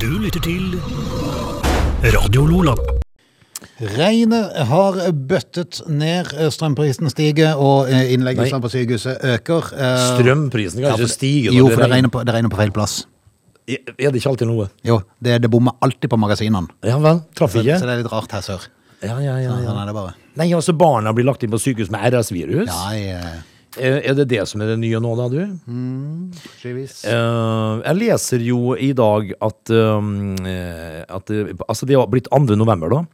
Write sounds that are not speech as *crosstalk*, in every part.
Du lytter til Radio Lola. Regnet har bøttet ned, eh, strømprisen stiger, og eh, innleggelsene Nei. på sykehuset øker. Eh, Strømprisen ja, kan for ikke det- stige når Jo, for det regner. regner på, det regner på feil plass. Er det ikke alltid noe? Jo, det, det bommer alltid på magasinene. Ja vel, traff Så, ikke. så det er litt rart her sør. Ja, ja, ja, Sånn ja. er det bare. Nei, altså barna blir lagt inn på sykehus med RS-virus. Ja, jeg, eh, Er er det det som er det nye nå, da, du? skivis. Eh, jeg leser jo i dag at, um, eh, at eh, Altså, det har blitt 2. november, da.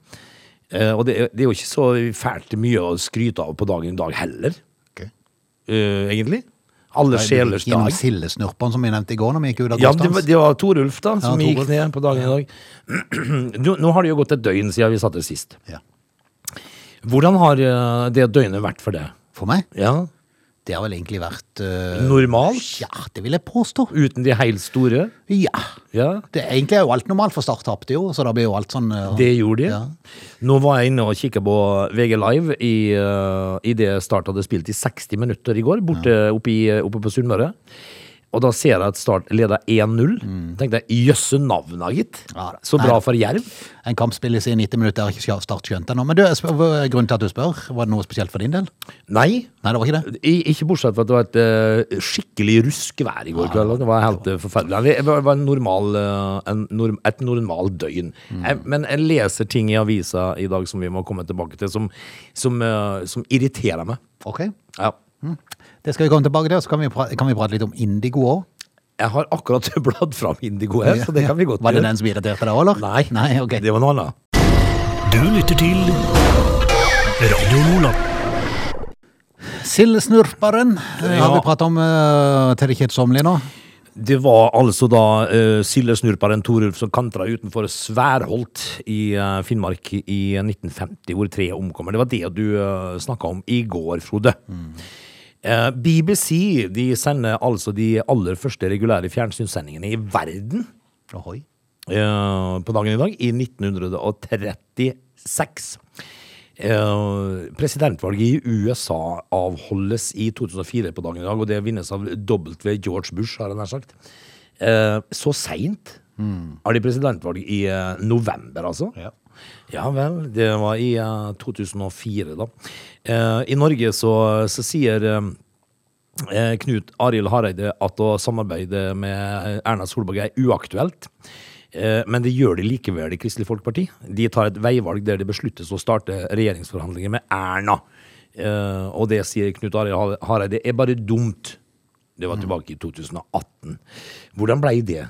Eh, og det, er- det er jo ikke så fælt mye å skryte av på dagen i dag heller, Ok. eh, egentlig. Alle sjelers Gjennom dag. sildesnurpene som vi nevnte i går når vi gikk ut av Ja, det var, Konstans. det var Torulf, da, som Ja, gikk Torulf. ned på dagen i dag. *clears throat* nå, nå har det jo gått et døgn siden vi satt her sist. Ja. Hvordan har eh, det døgnet vært for deg? For meg, Ja, det har vel egentlig vært eh, Normalt? Ja, det vil jeg påstå. Uten de helt store? Ja. Ja. Det, egentlig er jo alt normalt, for Start tapte jo, så da blir jo alt sånn eh, Det gjorde de. Ja. Nå var jeg inne og kikka på VG Live i, eh, i det Start hadde spilt i 60 minutter i går, borte oppe, i, oppe på Sunnmøre. Og da ser jeg at Start leder 1-0. Tenkte jeg, jøsse navna, gitt. Mm. Ja da. Så Nei bra da. for Jerv. En kamp spilles i 90 minutter, har ikke Start skjønt ennå. Men du, jeg spør- hva er grunnen til at du spør, var det noe spesielt for din del? Nei. Nei, det var ikke det. I, ikke bortsett fra at det var et eh, skikkelig ruskevær i går kveld. og Det var helt eh, forferdelig. Nei, Det var- var en normal, eh, en norm, et normal døgn. Mm. Jeg, men jeg leser ting i avisa i dag som vi må komme tilbake til, som, som, eh, som irriterer meg. Ok. Ja. Det skal vi komme tilbake til, og så kan vi, pra kan vi prate litt om Indigo òg. Jeg har akkurat *laughs* bladd fram Indigo her, så det kan vi godt Var det den som irriterte deg òg, eller? Nei, Nei, ok. det var noe annet. Du lytter til Radio Lola. Sildsnurperen eh, har Ja. vi pratet om eh, til det kjedsommelige nå. Det var altså da uh, sildesnurperen Torulf som kantra utenfor Sværholt i eh, Finnmark i 1950, hvor tre omkommer. Det var det du uh, snakka om i går, Frode. Eh, BBC de sender altså de aller første regulære fjernsynssendingene i verden Ohoi. eh, på dagen i dag, i 1936. Eh, presidentvalget i USA avholdes i 2004 på dagen i dag, og det vinnes av W. George Bush, har jeg nær sagt. Eh, så seint har de presidentvalg i eh, november, altså. Ja. Ja vel, det var i eh, 2004, da. Eh, I Norge så, så sier eh, Eh, Knut Arild Hareide at å samarbeide med Erna Solberg er uaktuelt. Eh, Men det gjør de likevel i Kristelig Folkeparti. De tar et veivalg der det besluttes å starte regjeringsforhandlinger med Erna. Eh, Og det sier Knut Arild Hareide er bare dumt. Det Mm. var tilbake i 2018. Hvordan blei det?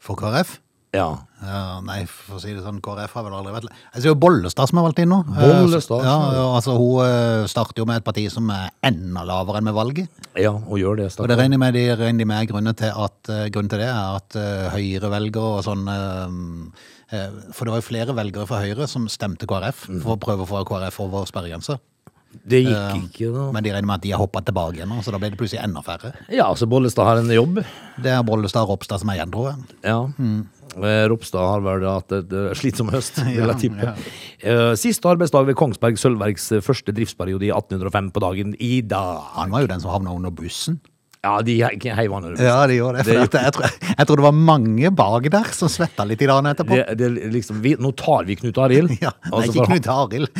For KrF? Ja. Ja, nei, for å si det sånn, KrF har vel aldri vært Jeg ser jo Bollestad som er valgt inn nå. Eh, Bollestad, Ja, ja. ja, altså Hun eh, starter jo med et parti som er enda lavere enn med valget. Ja, og gjør Og det. det Stakkar. regner jeg med de regner de med grunnen til, at, eh, grunnen til det er at eh, Høyre-velgere og sånn eh, eh, For det var jo flere velgere fra Høyre som stemte KrF for å prøve å få KrF over sperregrensa. Det gikk Eh, ikke, da. Men de regner med at de har hoppa tilbake igjen, nå, så da ble det plutselig enda færre. Ja, så Bollestad har en jobb. Det er Bollestad og Ropstad som er igjen, tror jeg. Ja. Mm. Eh, Ropstad har vel hatt et eh, slitsom *laughs* høst, vil jeg tippe. Eh, Siste arbeidsdag ved Kongsberg Sølvverks eh, første driftsperiode i 1805 på dagen i dag. Han var jo den som havna under bussen. Ja, de he- heiv han under. Ja, det gjorde det. For at jeg, tror, jeg tror det var mange bak der som svetta litt i dagene etterpå. Det, det er liksom, vi, nå tar vi Knut Arild. *laughs* ja, og nei, så ikke får han- Knut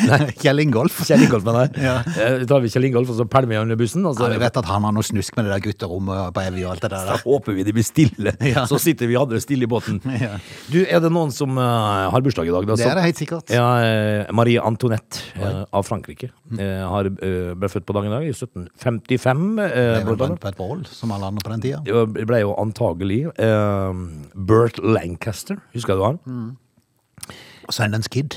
Arild. *laughs* Kjell Ingolf. *laughs* Kjell Ingolf med deg. Ja. Eh, tar vi Kjell Ingolf, og så pælmer vi han under bussen. Og Ja, så vi vet at han har noe snusk med det der gutterommet på Evy og alt det Da der. *laughs* håper vi de blir stille. Ja. Så sitter vi andre stille i båten. Ja. Du, er det noen som eh, har bursdag i dag? Da? Det Som- er det helt sikkert. Ja, eh, Marie Antoinette eh, av Frankrike Mm. eh, har, eh, ble født på dagen i dag, i 1755. Eh, Det var blant brent annet. på et bål, som alle andre på den tida. Det var- ble jo antagelig eh, Bert Lancaster, husker du han? Mm. Sundance Kid.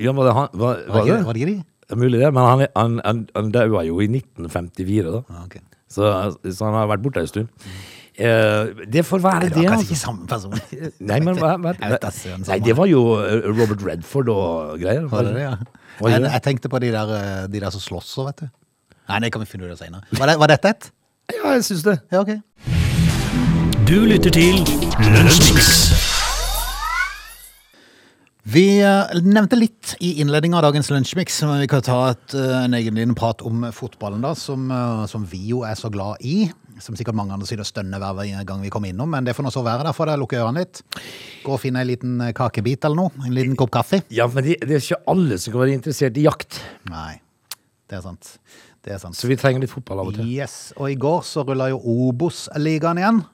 Ja, var det han? Var, Var var det, det? ikke- var det ikke de? Det er Mulig det, men han, han, han, han daua jo i 1954, da. Ja, ok. Så, så han har vært borte en stund. Eh, det får være Det det, var kanskje altså. ikke samme person. *laughs* Nei, men hva, hva, Jeg vet da søren Nei, samme. det var jo eh, Robert Redford og greier. Var det det, ja? Var det Jeg, det? jeg tenkte på de der, eh, de der som slåss og vet du. Nei, det kan vi finne ut av seinere. Var, det- var dette et? Ja, jeg syns det. Ja, ok. Du lytter til Lunsjmix. Vi eh, nevnte litt i innledningen av dagens Lunsjmix, men vi kan ta et, eh, en egen liten prat om fotballen, da, som, eh, som vi jo er så glad i. Som sikkert mange andre sier og stønner hver gang vi kommer innom, men det får nå så være. Derfor det, lukke ørene litt. Gå og finne en liten eh, kakebit eller noe. En liten kopp kaffe. Ja, men det, det er ikke alle som kan være interessert i jakt, Nei, det er sant. Det er sant. så vi trenger litt fotball av og til. Yes, og i går så rulla jo Obos-ligaen igjen.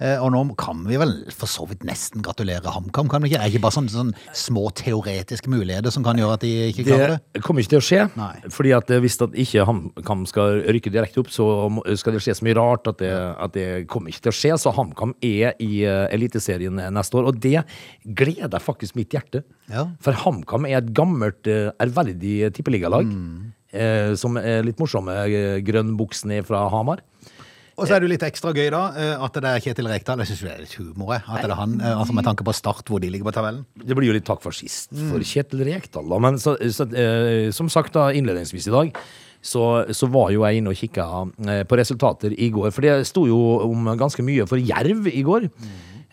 Eh, Og nå kan vi vel for så vidt nesten gratulere HamKam, kan vi ikke? Er det ikke bare sånne, sånne små teoretiske muligheter som kan gjøre at de ikke klarer det? Det kommer ikke til å skje, Nei. fordi at eh, hvis at ikke HamKam skal rykke direkte opp, så må- skal det skje så mye rart at det, at det kommer ikke til å skje. Så HamKam er i eh, Eliteserien neste år, og det gleder faktisk mitt hjerte. Ja. For HamKam er et gammelt, eh, ærverdig tippeligalag. Mm. Eh, som er litt morsomme. eh, Grønnbuksene fra Hamar. Og så er det jo litt ekstra gøy, da, eh, at det er Kjetil Rekdal. Jeg syns det er litt humor, jeg. At det er han, eh, altså med tanke på Start, hvor de ligger på tabellen. Det blir jo litt takk for sist for Kjetil Rekdal, da. Men så, så, eh, som sagt da, innledningsvis i dag, så, så var jo jeg inne og kikka eh, på resultater i går. For det sto jo om ganske mye for Jerv i går.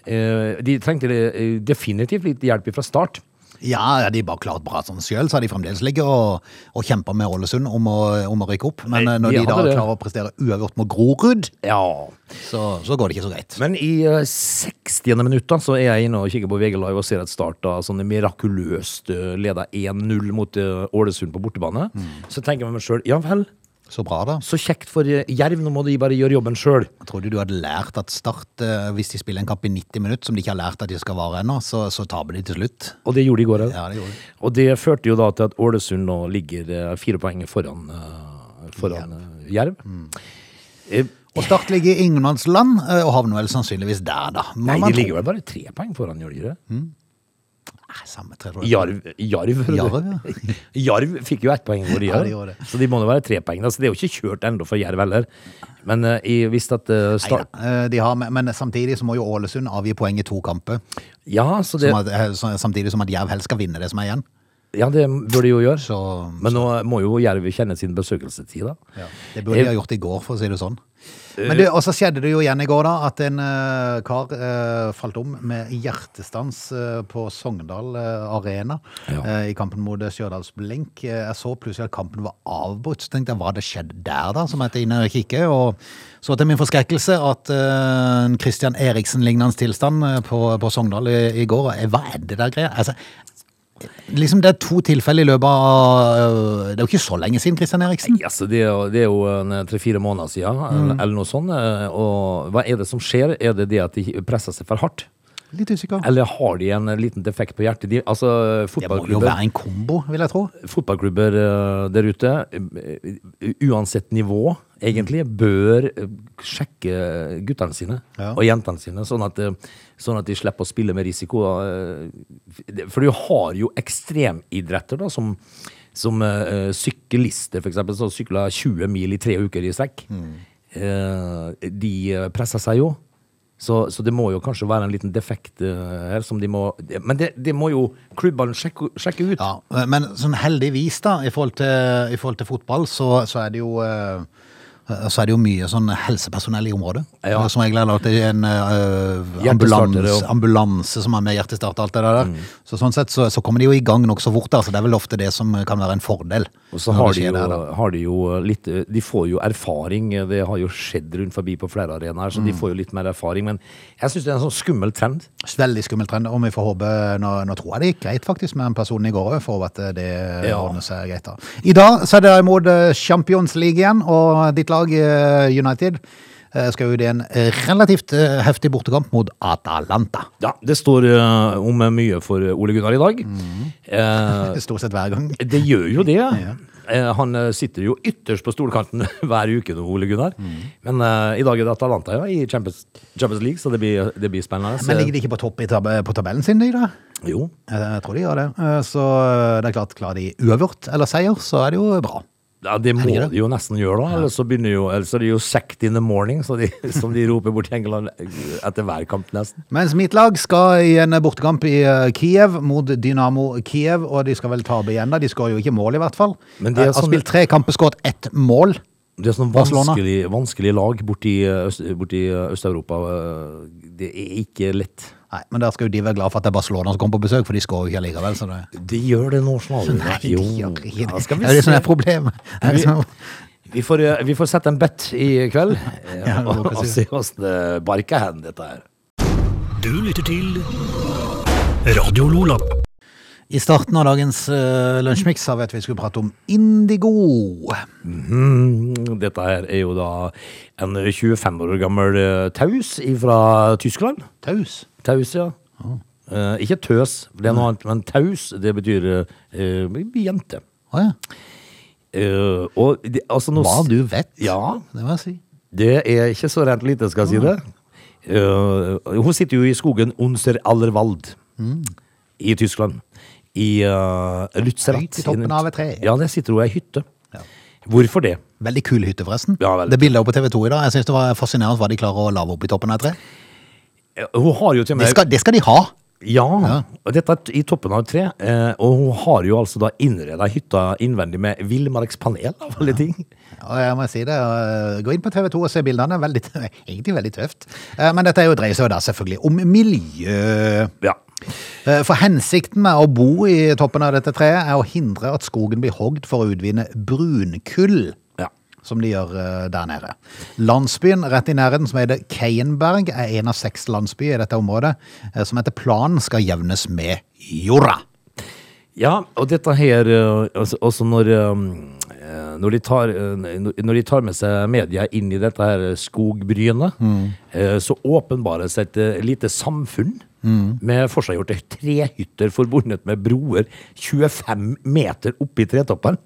Eh, de trengte eh, definitivt litt hjelp fra start. Ja, ja, de bare klart bra sånn sjøl, så har de fremdeles ligget og, og kjempa med Ålesund om å, om å rykke opp. Men Nei, eh, når de de da hadde det. klarer å prestere uavgjort mot Grorud, Ja. så, så går det ikke så greit. Men i eh, 60. minutt da, så er jeg inne og kikker på VG Live og ser at Start da, sånn mirakuløst eh, leder 1-0 mot eh, Ålesund på bortebane. Så tenker jeg med meg sjøl ja vel, Så bra, da. så kjekt for eh, Jerv, nå må de bare gjøre jobben sjøl. Tror du du hadde lært at Start, eh, hvis de spiller en kamp i 90 minutter, som de ikke har lært at de skal vare ennå, så, så taper de til slutt? Og det gjorde de i går òg. Ja, det gjorde de. Og det førte jo da til at Ålesund nå ligger eh, fire poeng foran, eh, foran eh, Jerv. Mm. Eh, Og Start ligger i ingenmannsland, eh, og havner vel sannsynligvis der, da. Må Nei, man Mm. de tro. ligger vel bare tre poeng foran, gjør de ikke det? Nei, Samme, tror jeg. Jarv, jarv, Jarv, *laughs* Jarv fikk jo ett poeng hvor de Ja, gjør. de gjorde det. så de må jo være tre poeng. da, Så det er jo ikke kjørt ennå for Jerv heller. Men eh, jeg visste at eh, Start Nei, ja. Eh, de har, men- men samtidig så må jo Ålesund avgi poeng i to kamper. Ja, så det, Som at, eh, så- samtidig som at Jerv helst skal vinne det som er igjen. ja, det burde de jo gjøre. Så Men nå må jo Jerv kjenne sin besøkelsestid, da. Det burde de ha gjort i går, for å si det sånn. Men det, og så skjedde det jo igjen i går, da, at en eh, kar eh, falt om med hjertestans eh, på Sogndal eh, Arena Ja. eh, i kampen mot Stjørdals Blink. Eh, jeg så plutselig at kampen var avbrutt. Så tenkte jeg, hva hadde skjedd der, da? Som jeg er inne og kikker. Og så til min forskrekkelse at eh, en Christian Eriksen-lignende tilstand eh, på, på Sogndal i, i går. Eh, Hva er det der greia? Altså, liksom Det er to tilfeller i løpet av eh, Det er jo ikke så lenge siden, Christian Eriksen. Ja, så det, er jo- det er jo en eh, tre-fire måneder siden, eller, eller noe sånt. eh, Og hva er det som skjer? Er det det at de presser seg for hardt? Litt usikker. Eller har de en liten defekt på hjertet? De, altså, Det må jo fotballklubber være en kombo, vil jeg tro. fotballklubber eh, der ute, eh, uansett nivå, egentlig, bør eh, sjekke guttene sine Ja. og jentene sine, sånn at, eh, sånn at de slipper å spille med risiko. da, eh, For du har jo ekstremidretter da, som, som eh, syklister, for eksempel, som sykler 20 mil i tre uker i strekk. Eh, De eh, presser seg jo. Så, så det må jo kanskje være en liten defekt eh, her som de må Men det, det må jo klubbene sjekke, sjekke ut. Ja, men sånn heldigvis, da, i forhold til, i forhold til fotball, så, så er det jo eh, så er det jo mye sånn helsepersonell i området. Ja. Eh, Som regel er det alltid en eh, Hjertestartere, ambulanse, ja. ambulanse som er med hjertestart og alt det der. Så sånn sett så, så kommer de jo i gang nokså fort, da, så det er vel ofte det som kan være en fordel. Og så når har det de, skjer jo, der, da. har de jo litt eh, De får jo erfaring. eh, Det har jo skjedd rundt forbi på flere arenaer, så de får jo litt mer erfaring. Men jeg syns det er en sånn skummel trend. Veldig skummel trend, om vi får håpe Nå, nå tror jeg det gikk greit faktisk med den personen i går òg, for at eh, det Ja. ordner seg greit. da. I dag så er det imot eh, Champions League igjen, og ditt lag eh, United eh, skal ut i en relativt eh, heftig bortekamp mot Atalanta. Ja, det står eh, om mye for Ole Gunnar i dag. Eh, Stort sett hver gang. det gjør jo *laughs* det. Eh, han eh, sitter jo ytterst på stolkanten *laughs* hver uke nå, Ole Gunnar. Men eh, i dag er det Atalanta ja, i Champions, Champions League, så det blir, det blir spennende. Men ligger de ikke på topp i tab på tabellen sin, de da? Jo. Eh, Jeg tror de gjør det. Eh, Så eh, det er klart, klarer de uavgjort eller seier, så er det jo bra. Ja, det må Er det ikke det? de jo nesten gjøre, da. Ellers så begynner jo, ellers er det jo 'sect in the morning', så de, *laughs* som de roper bort i England etter hver kamp, nesten. Mens mitt lag skal i en bortekamp i eh, Kiev mot Dynamo Kiev, og de skal vel tape igjen da. De skårer jo ikke mål, i hvert fall. Men det er Eh, Har sånn- spilt tre kamper, skåret ett mål. Det er sånn Barcelona. vanskelig, vanskelig lag borti, eh, øst- borti eh, Øst-Europa. eh, Det er ikke lett. Nei, men der skal jo de være glad for at det er Barcelona som kommer på besøk, for de skårer jo ikke likevel. Så det... De gjør det nå, Snarve. Nei, Sånn de gjør ikke Ja, det. skal Det er sånn vi det som se. er problemet. Det er det som er... *laughs* Vi får, eh, vi får sette en bet i kveld, *laughs* Ja, det må jeg og, og si. se åssen det barker hen, dette her. Du lytter til Radio Lola. *laughs* I starten av dagens uh, lunsjmix sa vi at vi skulle prate om indigo. Mhm. Dette her er jo da en 25 år gammel eh, taus fra Tyskland. Taus. Taus, ja. Eh, ikke tøs, for det er noe annet, men taus, det betyr eh, jente. Å ja. Eh, og det, altså nå Hva du vet. Ja, Det må jeg si. det er ikke så rent lite, skal jeg si det. Eh, hun sitter jo i skogen Unser Allerwald Mm. i Tyskland. I uh, Lützerath. Høyt i toppen av et tre. Ja, der sitter hun i ei hytte. Ja. Hvorfor det? Veldig kul hytte, forresten. Ja, veldig. det bildet oppe på TV 2 i dag, jeg synes det var fascinerende hva de klarer å lave opp i toppen av et tre. Eh, Hun har jo til og Det med skal, det skal de ha! Ja, og dette er t- i toppen av et tre. eh, Og hun har jo altså da innreda hytta innvendig med villmarkspanel, av alle ting. Og jeg må si det, øh, Gå inn på TV 2 og se bildene. Veldig, *laughs* egentlig veldig tøft. Eh, Men dette er jo dreier seg jo da selvfølgelig om miljø. Ja. Eh, For hensikten med å bo i toppen av dette treet er å hindre at skogen blir hogd for å utvinne brunkull, ja. som de gjør eh, der nede. Landsbyen rett i nærheten, som heter Keienberg, er en av seks landsbyer i dette området, eh, som etter planen skal jevnes med jorda. *laughs* Ja, og dette her eh, altså, Også når eh, eh, når de, tar, eh, når de tar med seg media inn i dette her skogbrynet, eh, så åpenbares et eh, lite samfunn med forseggjorte trehytter forbundet med broer 25 meter oppe i tretoppen.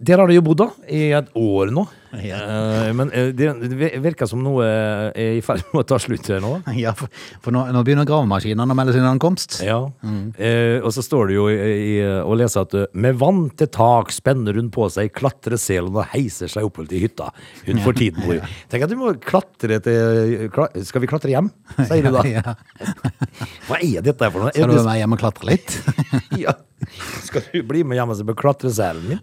Der har de jo bodd da, i et år nå. Eh, Men eh, det det virker som noe eh, er i ferd med å ta slutt her nå. Ja, for, for nå, nå begynner gravemaskinene å melde sin ankomst. Ja, Mm. eh, og så står det jo i, i, og leser at eh, med vante tak spenner hun på seg klatreselen og heiser seg oppover til hytta hun for tiden bor i. Tenk at du må klatre til kla, Skal vi klatre hjem, sier du da. *laughs* Ja. Hva er dette her for noe? Er Skal du det- være med hjem og klatre litt? *laughs* *laughs* ja. Skal du bli med hjem og se på klatreselen min?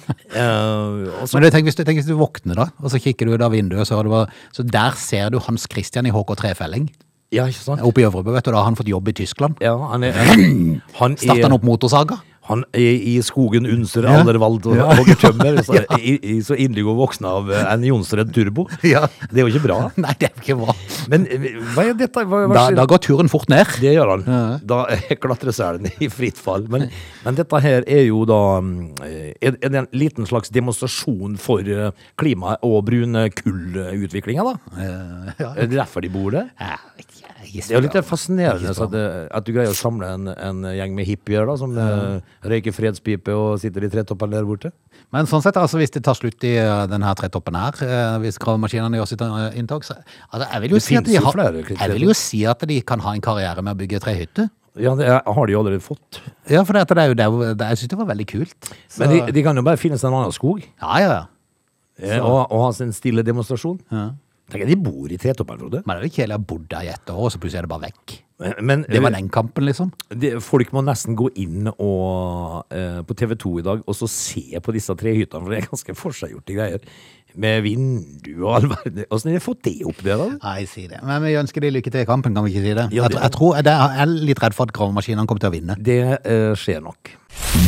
Eh, og så, Men du, tenk, hvis du, tenk hvis du våkner da, og så kikker du ut av vinduet, så, har du bare, så der ser du Hans Christian i HK Trefelling. ja, ikke sant? Oppe i Øvrebø, vet du, da har han fått jobb i Tyskland. Ja, han *clears throat* er, han, han Starter er han opp motorsaga? Han er i skogen Unser Ja. Allerwald og Ja. hogger tømmer, *laughs* så, i, i, så Indigo våkna av eh, en Jonsred Turbo. Ja. Det er jo ikke bra. *laughs* Nei, det er ikke bra. Men eh, hva er dette? Hva, hva Da, skjer? da går turen fort ned. *laughs* Det gjør han. Da *laughs* eh, klatrer selen i fritt fall. Men, men dette her er jo da mm, eh, Er er det en liten slags demonstrasjon for eh, klimaet og brune kull-utviklinga, da? Er det derfor de bor der? Ja, ikke- ikke Det er jo litt spør. fascinerende så at, eh, at du greier å samle en, en gjeng med hippier da, som eh, røyker fredspipe og sitter i tretoppen der borte. Men sånn sett, altså, hvis det tar slutt i eh, denne tretoppen her, eh, hvis gravemaskinene gjør sitt eh, inntog, så altså, jeg, vil jo Det si at finnes de jo har, flere jeg vil jo si at de kan ha en karriere med å bygge trehytte. Ja, det er, har de jo allerede fått. Ja, for det, at det er jo, det, er jo- det, jeg synes det var veldig kult. Så, Men de, de kan jo bare finne seg en annen skog ja, ja, ja. eh, og, og ha sin stille demonstrasjon. Tenk at de bor i tretoppen, Frode. Men det er jo kjedelig å ha bodd der i ett år, og så plutselig er det bare vekk. Men, men Det var den kampen, liksom. det- folk må nesten gå inn og, eh, på TV 2 i dag og så se på disse tre hyttene, for det er ganske forseggjorte greier. Med vindu og all verden. Åssen har de fått det opp der, da? Nei, si det. Men vi ønsker de lykke til i kampen, kan vi ikke si det? Ja, jeg, det- tror- jeg, tror, jeg, jeg er litt redd for at gravemaskinene kommer til å vinne. Det eh, skjer nok.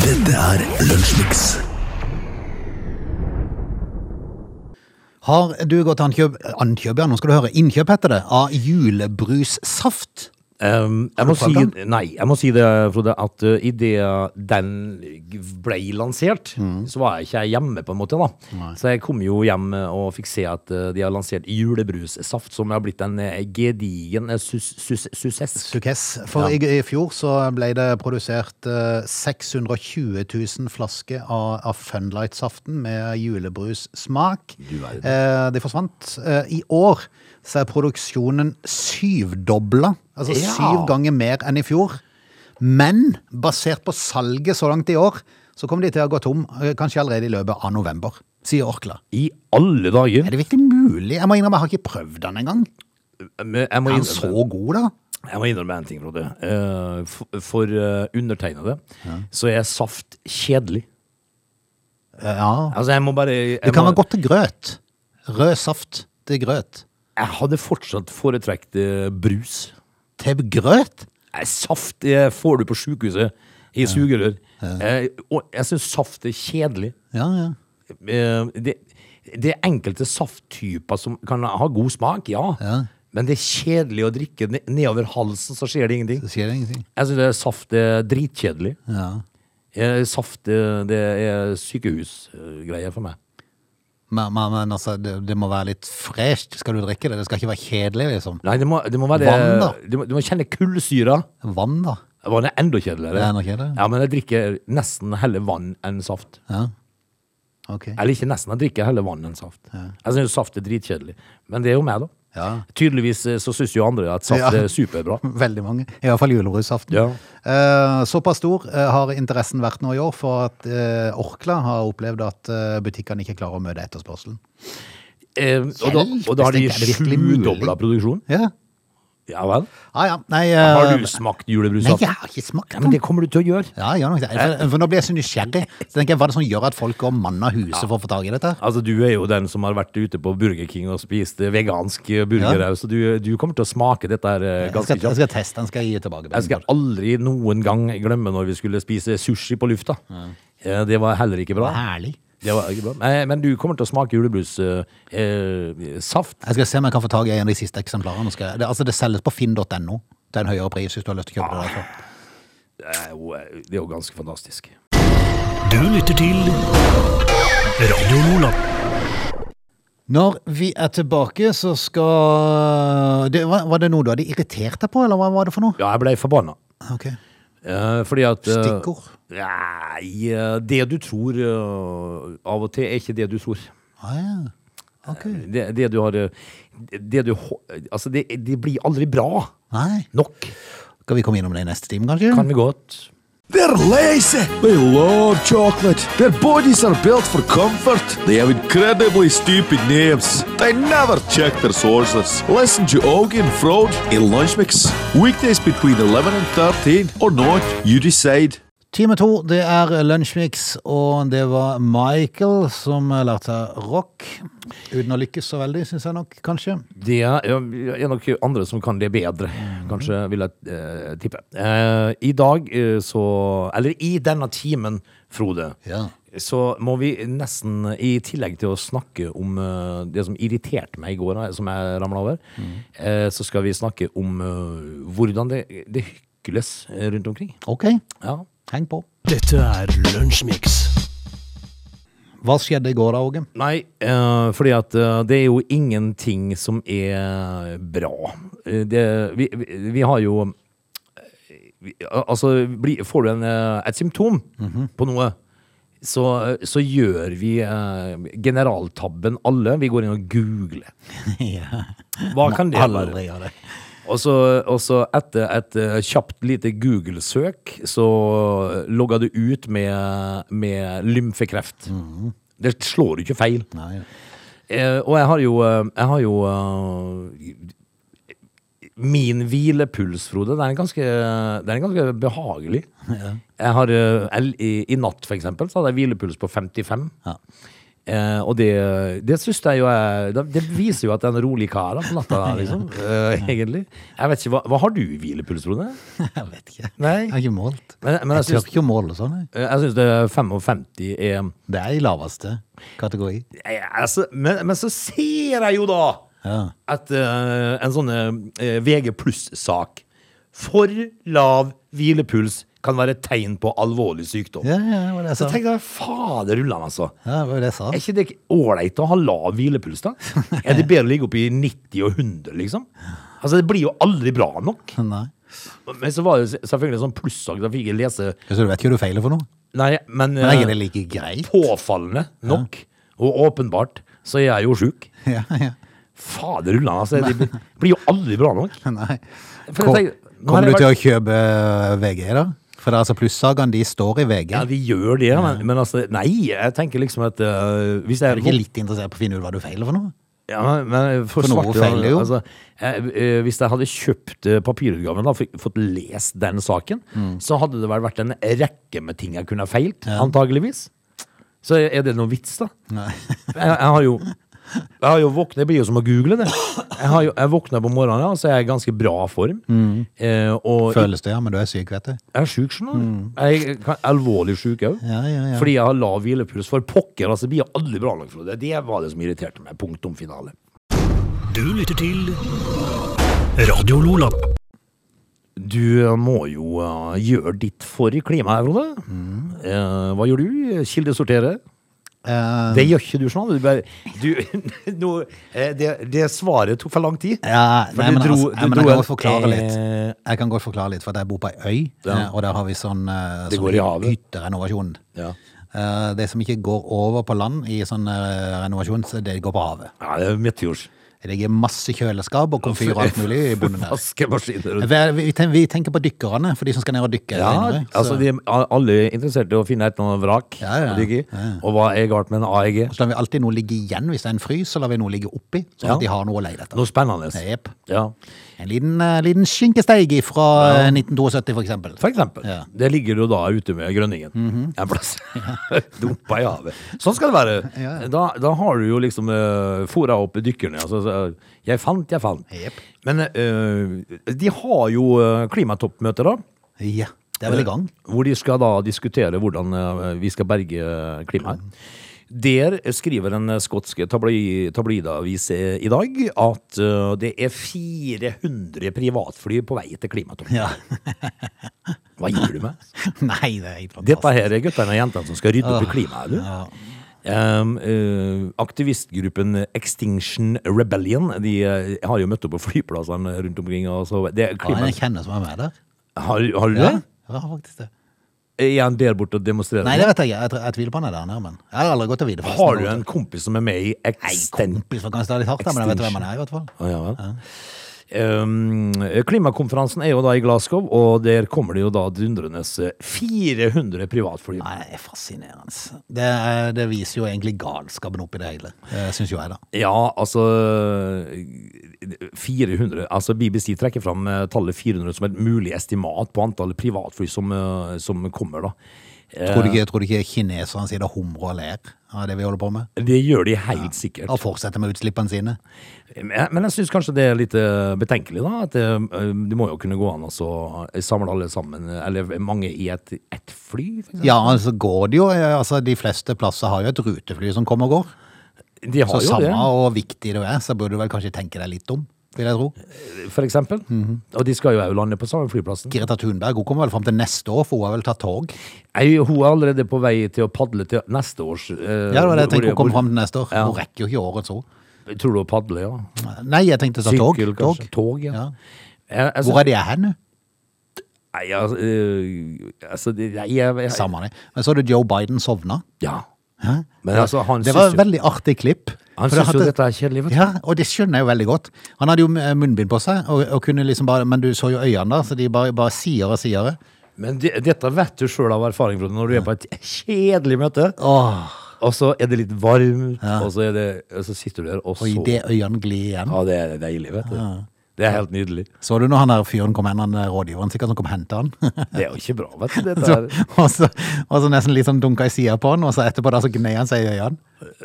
Dette er Lunsjmix. Har du gått til ankjøp, ankjøp, ja, nå skal du høre, innkjøp heter det, av julebrussaft? Um, jeg, du må prøvd si, nei, jeg må si det, Frode, at uh, idet den ble lansert, Mm. så var jeg ikke hjemme, på en måte. da. Så jeg kom jo hjem uh, og fikk se at uh, de har lansert julebrussaft, som har blitt en uh, gedigen uh, sus, sus, suksess. Sukess. For Ja. i, i fjor så ble det produsert eh, 620 000 flasker av, av Funlight-saften med julebrussmak. Du verden. Eh, det forsvant. Eh, I år så er produksjonen syvdobla. Altså Ja. syv ganger mer enn i fjor. Men basert på salget så langt i år, så kommer de til å gå tom eh, kanskje allerede i løpet av november, sier Orkla. I alle dager! Er det virkelig mulig? Jeg må innrømme, jeg har ikke prøvd den engang. Men Jeg må Er den innrømme- så god, da? Jeg må innrømme en ting, Frode. Eh, For, for eh, undertegnede så er saft kjedelig. Ja. Altså, jeg må bare jeg Det kan må, være godt til grøt. Rød saft til grøt. Jeg hadde fortsatt foretrekt eh, brus. Kjøttevgrøt? Nei, saft det får du på sykehuset i sugerør. Eh, og jeg syns saft er kjedelig. Ja, ja. Eh, det, det er enkelte safttyper som kan ha god smak, ja. Ja. Men det er kjedelig å drikke ne- nedover halsen, så skjer det ingenting. Det skjer ingenting. Jeg syns saft er dritkjedelig. Ja. Eh, Saft eh, det er sykehusgreier for meg. Men, men, men altså, det, det må være litt fresht skal du drikke det. Det skal ikke være kjedelig, liksom. Nei, det må, det må være Vann, da? Du må, du må kjenne kullsyra. Vann, da. Vann er enda kjedeligere. Det er nok kjedelig. Ja, men jeg drikker nesten heller vann enn saft. Ja. Ok. Eller ikke nesten, jeg drikker heller vann enn saft. Jeg syns saft er dritkjedelig. Men det er jo meg, da. Ja. Tydeligvis eh, så syns jo andre at saft Ja. *laughs* er superbra. Veldig mange. I hvert fall julebrusaften. Ja. Eh, såpass stor eh, har interessen vært nå i år for at eh, Orkla har opplevd at eh, butikkene ikke klarer å møte etterspørselen. Eh, og, da, og da har de Hjelpes, det er virkelig mulig. sjudobla produksjon. Ja, Ja vel. ah, ja. Nei, eh, Har du smakt nei, julebrussaft? jeg har ikke smakt Ja, men den. det kommer du til å gjøre. Ja, jeg gjør nok det. Eh. For, for nå blir jeg så nysgjerrig. Så tenker jeg, Hva er det som gjør at folk går mann av huset for å få tak i dette? her? Altså, Du er jo den som har vært ute på Burger King og spist eh, vegansk eh, burger, så du, du kommer til å smake dette her eh, Jeg ganske skal, jeg kjapt. skal teste den, skal jeg gi tilbake. Jeg skal aldri noen gang glemme når vi skulle spise sushi på lufta. Eh, Det var heller ikke bra. Herlig. Det var ikke bra. Nei, Men du kommer til å smake julebrussaft. Eh, saft. Jeg skal se om jeg kan få tak i en av de siste eksemplarene. Skal jeg, det, altså, det selges på finn.no. Det er en høyere pris hvis du har lyst til å kjøpe det. Derfor. det er jo- eh, det er jo ganske fantastisk. Du lytter til Radio Lola. Når vi er tilbake, så skal det, var, var det noe du hadde irritert deg på, eller hva var det for noe? Ja, jeg ble forbanna. Ok. Eh, fordi at eh, Stikkord? Nei, eh, det du tror eh, av og til, er ikke det du tror. Ah, ja. Ok. Det, det du har eh, Det du ho- Altså, det, det blir aldri bra Nei. nok. Skal vi komme innom det i neste time, kanskje? Kan vi godt. They're lazy. They love chocolate. Their bodies are built for comfort. They have incredibly stupid names. They never check their sources. Listen to Augie and Frode in Lunch Mix. Weekdays between 11 and 13 or not, you decide. Time to, det er Lunsjmix, og det var Michael som lærte seg rock. Uten å lykkes så veldig, syns jeg nok, kanskje. Det er, er nok andre som kan det bedre, kanskje, vil jeg eh, tippe. Eh, I dag eh, så Eller i denne timen, Frode, Ja. så må vi nesten, i tillegg til å snakke om eh, det som irriterte meg i går, eh, som jeg ramla over, eh, så skal vi snakke om eh, hvordan det, det hykles eh, rundt omkring. Ok, Ja. heng på. Dette er Lunsjmix. Hva skjedde i går da, Åge? Nei, eh, fordi at eh, det er jo ingenting som er bra. Eh, det, vi, vi, vi har jo eh, vi, al- Altså, bli, får du en, eh, et symptom på noe, så, så gjør vi eh, generaltabben alle. Vi går inn og googler. *laughs* ja. Hva kan det være? Aldri gjør det. Og så, og så etter et eh, kjapt lite Google-søk, så logga du ut med, med lymfekreft. Det slår jo ikke feil. Nei. Eh, og jeg har jo, eh, jeg har jo eh, Min hvilepuls, Frode, den er ganske, den er ganske behagelig. Jeg har, eh, el- i, I natt, for eksempel, så hadde jeg hvilepuls på 55. Ja. Eh, og det, det syns jeg jo er Det det viser jo at det er en rolig kar da, på natta, *laughs* liksom. eh, egentlig. Jeg vet ikke, hva, hva har du i hvilepuls, Frode? *laughs* Jeg vet ikke. Nei. Jeg har ikke målt. Men, men Jeg jeg tør syns- ikke å måle sånn, jeg. eh, jeg syns det er eh, 55 er Det er i laveste kategori. Nei, altså, men, men så ser jeg jo da Ja. at eh, en sånn eh, VG pluss-sak For lav hvilepuls kan være et tegn på alvorlig sykdom. Ja, ja, det var det jeg Så sa. tenk deg, fader ullan, altså. Ja, det var det jeg sa. Er ikke det ålreit å ha lav hvilepuls, da? Er det bedre å ligge oppe i 90 og 100, liksom? Altså, det blir jo aldri bra nok. Nei. Men så var det selvfølgelig en sånn plussak, da fikk jeg lese Så du vet ikke hva du feiler for noe? Nei, men Men er ikke eh, det like greit? påfallende nok, og åpenbart, så er jeg jo sjuk. Ja, ja. Fader ullan, altså. Det blir- blir jo aldri bra nok. Nei. For jeg tenker- Kom- nå har Kommer jeg du til å kjøpe VG, da? For det er altså plussagaen, de står i VG. Ja, Er de gjør det, men, men altså Nei, jeg tenker liksom at øh, Hvis jeg du ikke litt interessert på å finne ut hva du feiler for noe? ja, men- men for For noe svarte, feiler jo. Altså, jeg, øh, hvis jeg hadde kjøpt øh, papirutgaven og fått lest den saken, Mm. så hadde det vel vært en rekke med ting jeg kunne ha feilt, antageligvis. Så er det noen vits, da? Nei. Jeg, jeg har jo Jeg har jo våknet, det blir jo som å google det. Jeg, har jo, jeg våkner på morgenen, ja, så er jeg i ganske bra form. Mm. Eh, og Føles det, ja, men du er syk, vet du. jeg er syk, skjønner du. Jeg kan, alvorlig syk òg. Mm. Ja, ja, ja. Fordi jeg har lav hvilepuls. For pokker, altså, blir jeg aldri bra nok for det. Det var det som irriterte meg. Punktum finale. Du lytter til Radio Lola. Du må jo eh, gjøre ditt for klimaet, Frode. Mm. Eh, hva gjør du? Kildesortere? Eh, Det gjør ikke du sånn. Du bare, du, *laughs* nå, eh, det, det svaret tok for lang tid. ja, Eh, For nei, du men dro- altså, du jeg, men dro jeg kan en- godt forklare litt. eh, Jeg kan godt forklare litt, for jeg bor på ei øy, Ja. eh, og der har vi sånn, eh, Det sånn går i havet. hytterenovasjon. Ja. Eh, Det som ikke går over på land i sånn eh, renovasjon, så det går på havet. Ja, det er meteors. Det ligger masse kjøleskap og komfyr og alt mulig i *laughs* bunnen der. Vaskemaskiner. Vi, vi, ten- vi tenker på dykkerne, for de som skal ned og dykke. Ja, senere, så- altså de er alle interessert i å finne et eller annet vrak. Ja, ja. å ligge i. Og hva er galt med en E AEG? Så lar vi alltid noe ligge igjen. Hvis det er en frys, så lar vi noe ligge oppi, sånn Ja. at de har noe å leie etter. Noe spennende. Jepp. Ja. En liten, eh, liten skinkesteig fra eh, 1972, for eksempel. For eksempel. Ja. Mhm. Det ligger du da ute med grønningen *laughs* en plass. *laughs* Dumpa i havet. Sånn skal det være. Da, da har du jo liksom uh, fôra opp dykkerne. Altså, så, jeg fant, jeg fant. Jepp. Men eh, de har jo eh, klimatoppmøte, da. Ja, det er vel i *laughs* gang. Eh, Hvor de skal da diskutere hvordan eh, vi skal berge eh, klimaet. Der skriver en eh, skotsk tabloid- tabloidavis eh, i dag at eh, det er 400 privatfly på vei til klimatoppmøtet. Ja. Hva gir du meg? *laughs* Nei, det er helt fantastisk. Dette her er guttene og jentene som skal rydde Ah. opp i klimaet, du. Um, eh, aktivistgruppen Extinction Rebellion De eh, har jo møtt opp på flyplassene rundt omkring. Og så, det er Ja, jeg klima. kjenner som Ah, er med der. Har, har du det? Ja, ja faktisk det. Er han der borte og demonstrerer? Nei, det vet jeg ikke. Jeg, tror- jeg tviler på han er der nede, men jeg har aldri gått og videre. forresten. Har du en kompis som er med Nei, i Extent? kompis, for kanskje det er litt hardt, da, men jeg vet hvem han er i hvert fall. Å, ja, vel. Um, klimakonferansen er jo da i Glasgow, og der kommer det jo da dundrende 400 privatfly. Nei, det er fascinerende. altså. Det, er- det viser jo egentlig galskapen oppi det hele, eh, synes jo jeg da. Ja, altså 400 Altså BBC trekker fram eh, tallet 400 som et mulig estimat på antallet privatfly som, eh, som kommer, da. Eh, Tror du ikke, tror du ikke kineserne sier det humrer og ler av det vi holder på med? Det gjør de helt sikkert. Og fortsetter med utslippene sine? Men men jeg syns kanskje det er litt eh, betenkelig, da. At det, eh, det må jo kunne gå an å så samle alle sammen, eh, eller mange i ett et fly, for eksempel. Ja, altså går det jo. eh, Altså, de fleste plasser har jo et rutefly som kommer og går. De har Så jo samme det, og viktig det er, så burde du vel kanskje tenke deg litt om, vil jeg tro. for eksempel. Mhm. Og de skal jo òg lande på samme flyplassen. Greta Thunberg, hun kommer vel fram til neste år, for hun har vel tatt tog. Nei, hun er allerede på vei til å padle til neste års eh, Ja, det var det jeg hvor- tenkte, hun hvor- kommer fram til neste år. Ja. Hun rekker jo ikke året så. Tror du å padle, ja? Nei, jeg tenkte ta tog. Sykkel, tog. kanskje? Tog, ja. Ja. Jeg, jeg, Hvor er de hen nå? Nei, altså, øh, altså det- nei, jeg, jeg, Samme det. Men så hadde Joe Biden sovna. Ja. Hæ? Men altså, han det syns var jo- et veldig artig klipp. Han For det syns jo hadde- dette er kjedelig, vet du. Ja, og det skjønner jeg jo veldig godt. Han hadde jo eh, munnbind på seg, og, og kunne liksom bare Men du så jo øynene der, så de bare, bare sier og sier. Men det, dette vet du sjøl av erfaring, Frode, når du er på et kjedelig møte, Åh, og så er det litt varmt, og, så er det, og så sitter du der, og så og idet øynene glir igjen. Ja, det er deilig, vet du. Det er helt nydelig. Så du når han der fyren kom hen, han der rådgiveren sikkert, som kom og henta han? *laughs* Det er jo ikke bra, vet du. Dette så, er, og, så, og så nesten litt sånn dunka i sida på han, og så etterpå da så gnei han seg i øynene.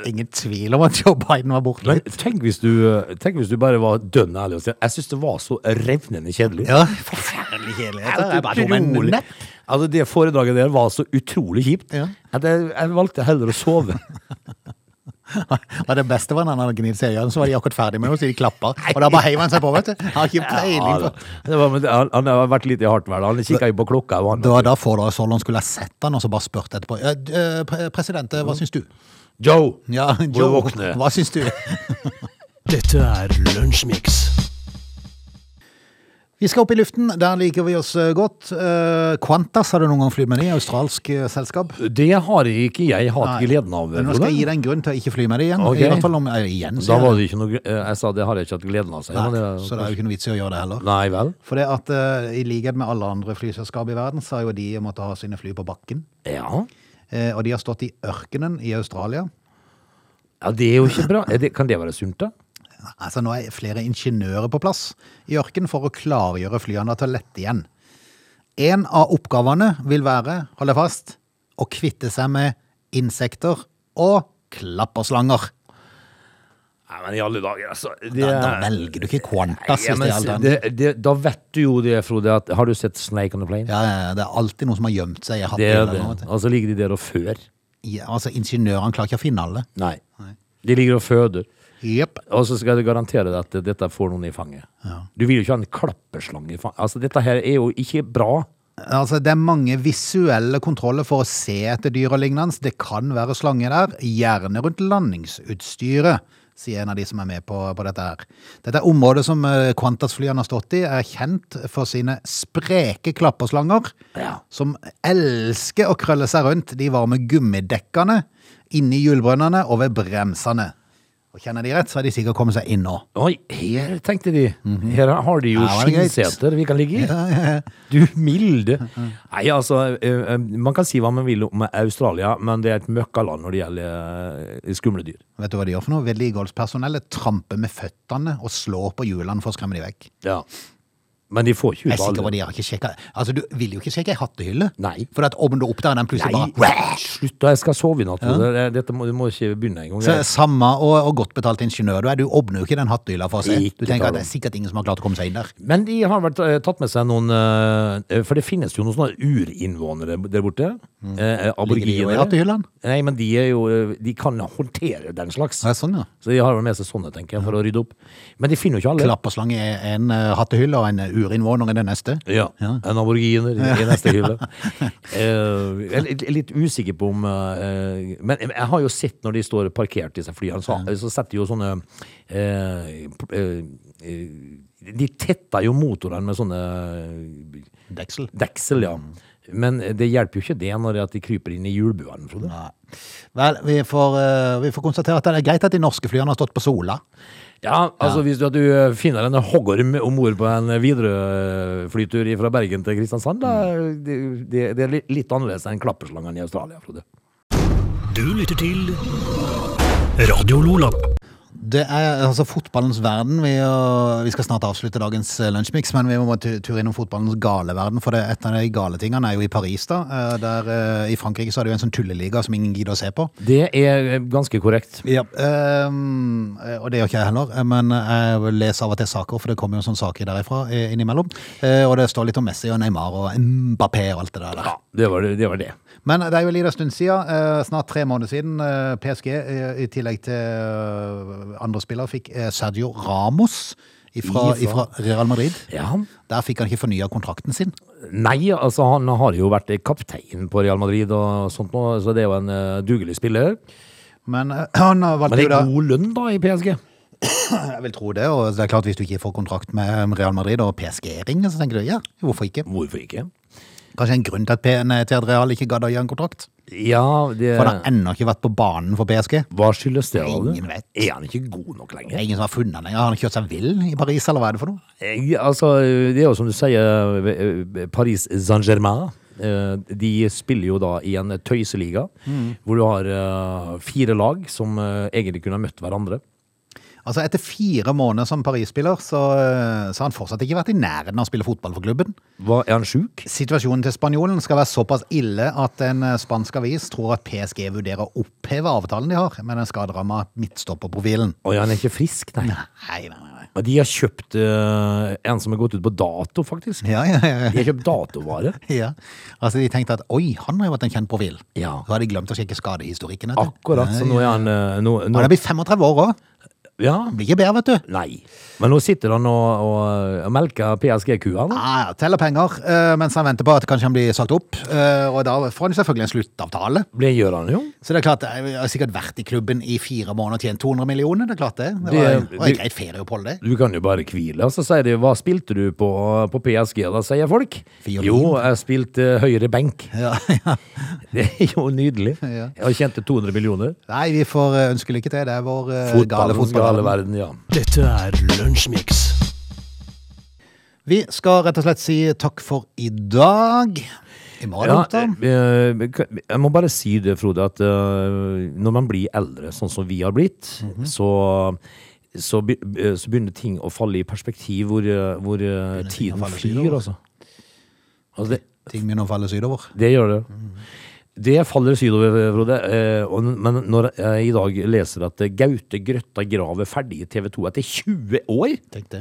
Ingen tvil om at Joe Biden var borte men litt. tenk hvis, du, tenk hvis du bare var dønn ærlig og sier Jeg syns det var så revnende kjedelig. Ja, forferdelig kjedeligheter. Jeg bare tok meg en Utrolig. napp. Altså, det foredraget der var så utrolig kjipt Ja. at jeg, jeg valgte heller å sove. *laughs* Og det beste var når han hadde gnidd seg i øynene, så var de akkurat ferdig med noe, så de klappa. Og da bare heiv han seg på, vet du. Han har ikke peiling Ja, på da. det var, men det- han, han har vært litt i hardt vær. da. Han kikka jo på klokka. Og han, Det var da Fordra Solon skulle ha sett han og så bare spurt etterpå. «Eh, d- eh, pre- President, eh, hva syns du? Joe! Ja, du Joe, våkne? hva syns du? Dette er Lunsjmix. Vi skal opp i luften, der liker vi oss eh, godt. Eh, Qantas har du noen gang flydd med de, australsk eh, selskap. Det har ikke jeg hatt Nei. gleden av. Men nå skal Frode. jeg gi deg en grunn til å ikke fly med de igjen. Ok. I hvert fall om eh, igjen, Da sier var jeg. det ikke noe eh, Jeg sa det har jeg ikke hatt gleden av. seg. Nei, men det- så det er jo ikke noe vits i å gjøre det heller. Nei vel? For det at eh, i likhet med alle andre flyselskap i verden, så har jo de måttet ha sine fly på bakken. Ja. Eh, Og de har stått i ørkenen i Australia. ja. Det er jo ikke bra. Er det, kan det være sunt, da? Altså Nå er flere ingeniører på plass i ørken for å klargjøre flyene til å lette igjen. En av oppgavene vil være, hold deg fast, å kvitte seg med insekter og klapperslanger. Nei, men i alle dager, altså. Det, Da, da velger du ikke Qantas Ja, hvis men det er alt annet. det, det, da vet du jo det, Frode. At, har du sett Snake on the Plane? Ja, ja, ja, det er alltid noen som har gjemt seg i hatten. det er eller det. noe, vet du. Og så ligger de der og før. Ja, altså, ingeniørene klarer ikke å finne alle. Nei. De ligger og føder. Jepp. Og så skal jeg garantere deg at dette får noen i fanget. Du vil jo ikke ha en klapperslange i fanget. Altså, dette her er jo ikke bra. Altså, det er mange visuelle kontroller for å se etter dyr og lignende. Det kan være slange der, gjerne rundt landingsutstyret, sier en av de som er med på, på dette her. Dette er området som eh, Qantas-flyene har stått i, er kjent for sine spreke klapperslanger, Ja. som elsker å krølle seg rundt de varme gummidekkene, inni hjulbrønnene og ved bremsene. Og kjenner de rett, så har de sikkert kommet seg inn nå. Oi, her tenkte de. Her har de jo Mhm. Her var det greit. skinnseter vi kan ligge i. Du milde. Nei, altså, eh, eh, man kan si hva man vil om Australia, men det er et møkkaland når det gjelder eh, skumle dyr. Vet du hva de gjør for noe? Vedlikeholdspersonellet tramper med føttene og slår på hjulene for å skremme de vekk. Ja. Men de får ikke Jeg ut er sikker på alle. at de har ikke sjekket. Altså, du vil jo ikke sjekke ei hattehylle. Nei. For at om du oppdager den plutselig bare Nei, slutt da, jeg skal sove i natt. Frode. Dette må, du må ikke begynne engang. så, Samme og, og godt betalt ingeniør du er, du åpner jo ikke den hattehylla for å se. Du Ikke tenker tar at det er sikkert ingen som har klart å komme seg inn der. Men de har vært, eh, tatt med seg noen eh, For det finnes jo noen sånne urinnvånere der borte. Eh, Mm. Ligger de jo i Aboriginer. hattehyllene? Nei, men de, er jo, eh, de kan håndtere den slags. Ja, sånn, ja. Så de har vel med seg sånne, tenker jeg, for å rydde opp. Men de finner jo ikke alle. Klapperslange er en eh, hattehylle, og en eh, urinnvåner er den neste. Ja, En aboriginer i neste hylle. *laughs* Eh, jeg er litt- litt usikker på om eh, Men jeg har jo sett når de står parkert, disse flyene, så, så setter de jo sånne eh, p- eh, eh, De tetter jo motorene med sånne Deksel. deksel, ja. Men det hjelper jo ikke det når det at de kryper inn i hjulbuene, Frode. Nei. Vel, vi får, eh, vi får konstatere at det er greit at de norske flyene har stått på Sola. Ja, altså hvis du, at du finner en hoggorm om bord på en Widerøe-flytur fra Bergen til Kristiansand, da det, det, det er litt, litt annerledes enn klapperslangene i Australia, Frode. Du lytter til Radio Lola. Det er altså fotballens verden. Vi, øh, vi skal snart avslutte dagens øh, lunsjmix, men vi må bare tu- tur innom fotballens gale verden. For det, et av de gale tingene er jo i Paris, da. eh, Der eh, I Frankrike så er det jo en sånn tulleliga som ingen gidder å se på. Det er ganske korrekt. Ehm, og det gjør ikke jeg heller, eh, men jeg leser av og til saker, for det kommer jo sånne saker derifra eh, innimellom. Eh, Og det står litt om Messi og Neymar og Mbappé og alt det der. der. Ja, det var det. det, var det. Men det er jo en liten stund siden, eh, snart tre måneder siden, eh, PSG eh, i tillegg til eh, andre spillere fikk eh, Sergio Ramos ifra, ifra Ifra. Real Madrid. Ja. Der fikk han ikke fornya kontrakten sin. Nei, altså han har jo vært kaptein på Real Madrid og sånt nå, så det er jo en eh, dugelig spiller. Men eh, *clears throat* han har Men valgt det jo da er god lønn da i PSG. Jeg vil tro det, og det er klart hvis du ikke får kontrakt med eh, Real Madrid og PSG ringer, så tenker du ja, hvorfor ikke? Hvorfor ikke? Kanskje en grunn til at, P- nei, til at Real ikke gadd å gjøre en kontrakt? Ja, det For han har ennå ikke vært på banen for PSG. Hva skyldes det? Alde? Ingen vet. Er han ikke god nok Det lenger? er ingen som har funnet han lenger. Har han kjørt seg vill i Paris, eller hva er det for noe? Jeg, altså, det er jo som du sier, eh, Paris Saint-Germain. eh, De spiller jo da i en tøyseliga, Mm. hvor du har eh, fire lag som eh, egentlig kunne ha møtt hverandre. Altså Etter fire måneder som Paris-spiller, så, eh, så har han fortsatt ikke vært i nærheten av å spille fotball for klubben. Hva, er han sjuk? Situasjonen til spanjolen skal være såpass ille at en eh, spansk avis tror at PSG vurderer å oppheve avtalen de har med den skaderamma midtstopperprofilen. Å ja, han er ikke frisk, nei. Nei, nei, nei. nei. Og De har kjøpt eh, en som har gått ut på dato, faktisk. Ja, ja, ja, De har kjøpt *laughs* datovare. ja. ja. Altså De tenkte at oi, han har jo vært en kjent profil. Ja. Så har de glemt å sjekke skadehistorikken. vet du. Akkurat. Så nå er han eh, nå, Han nå, er blitt 35 år òg. Ja. Blir ikke bedre, vet du. Nei. Men nå sitter han og, og, og melker PSG-kua, da. Ja, ja, teller penger eh, mens han venter på at kanskje han blir sagt opp. eh, Og da får han selvfølgelig en sluttavtale. Det gjør han jo. Så det er klart, jeg har sikkert vært i klubben i fire måneder og tjent 200 millioner, det er klart det. Det var, Det- det var det- et greit ferieopphold det. Du kan jo bare hvile. Og så sier de 'hva spilte du på, på PSG'? Da sier folk Fiolin. jo, jeg spilte høyre benk. *laughs* Ja, ja. Det er jo nydelig. Ja. Jeg tjente 200 millioner. Nei, vi får eh, ønske lykke til, det er vår eh, gale Fotballens gale fotballverden. verden, ja. Dette er Lunsjmix. Vi skal rett og slett si takk for i dag. I morgen, Ja, da. eh, jeg må bare si det, Frode, at eh, når man blir eldre, sånn som vi har blitt, Mhm. så, så, be- eh, så begynner ting å falle i perspektiv hvor, eh, hvor eh, ting å tiden falle flyr, sydover. altså. altså det, Ting begynner å falle sydover. det gjør det. Det faller sydover, Frode. eh, og- Men når jeg i dag leser at eh, Gaute Grøtta Grav er ferdig i TV 2 etter 20 år Tenk det.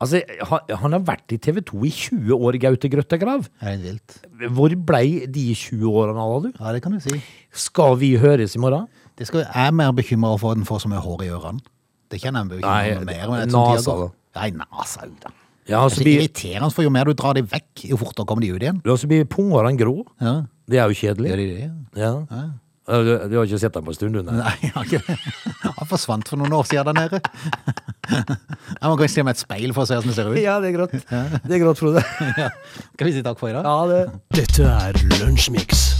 Altså, han- Han har vært i TV 2 i 20 år, Gaute Grøtta Grav. Er det vilt? Hvor blei de 20 årene av, da, du? Ja, det kan du si. Skal vi høres i morgen? Det skal, jeg er mer bekymra for at den får så mye hår i ørene. Det kjenner jeg meg Nei, bekymra for mer. det- Men etter nasa, tida går- da. Nei, nasa ut, da. Det Ja, er altså, så blir, irriterende, for jo mer du drar dem vekk, jo fortere kommer de ut igjen. altså blir punghårene grå. Ja, Det er jo kjedelig. Gjør de det? Ja. Ja, Du, du har ikke sett dem på en stund, du? nei. Nei, jeg har ikke det. Han forsvant for noen år siden der nede. Jeg må gå og se meg et speil for å se hvordan det ser ut. *laughs* Ja, det er grått. Det er grått, Frode. Skal vi si takk for i dag? Ja, det... Dette er Lunsjmix.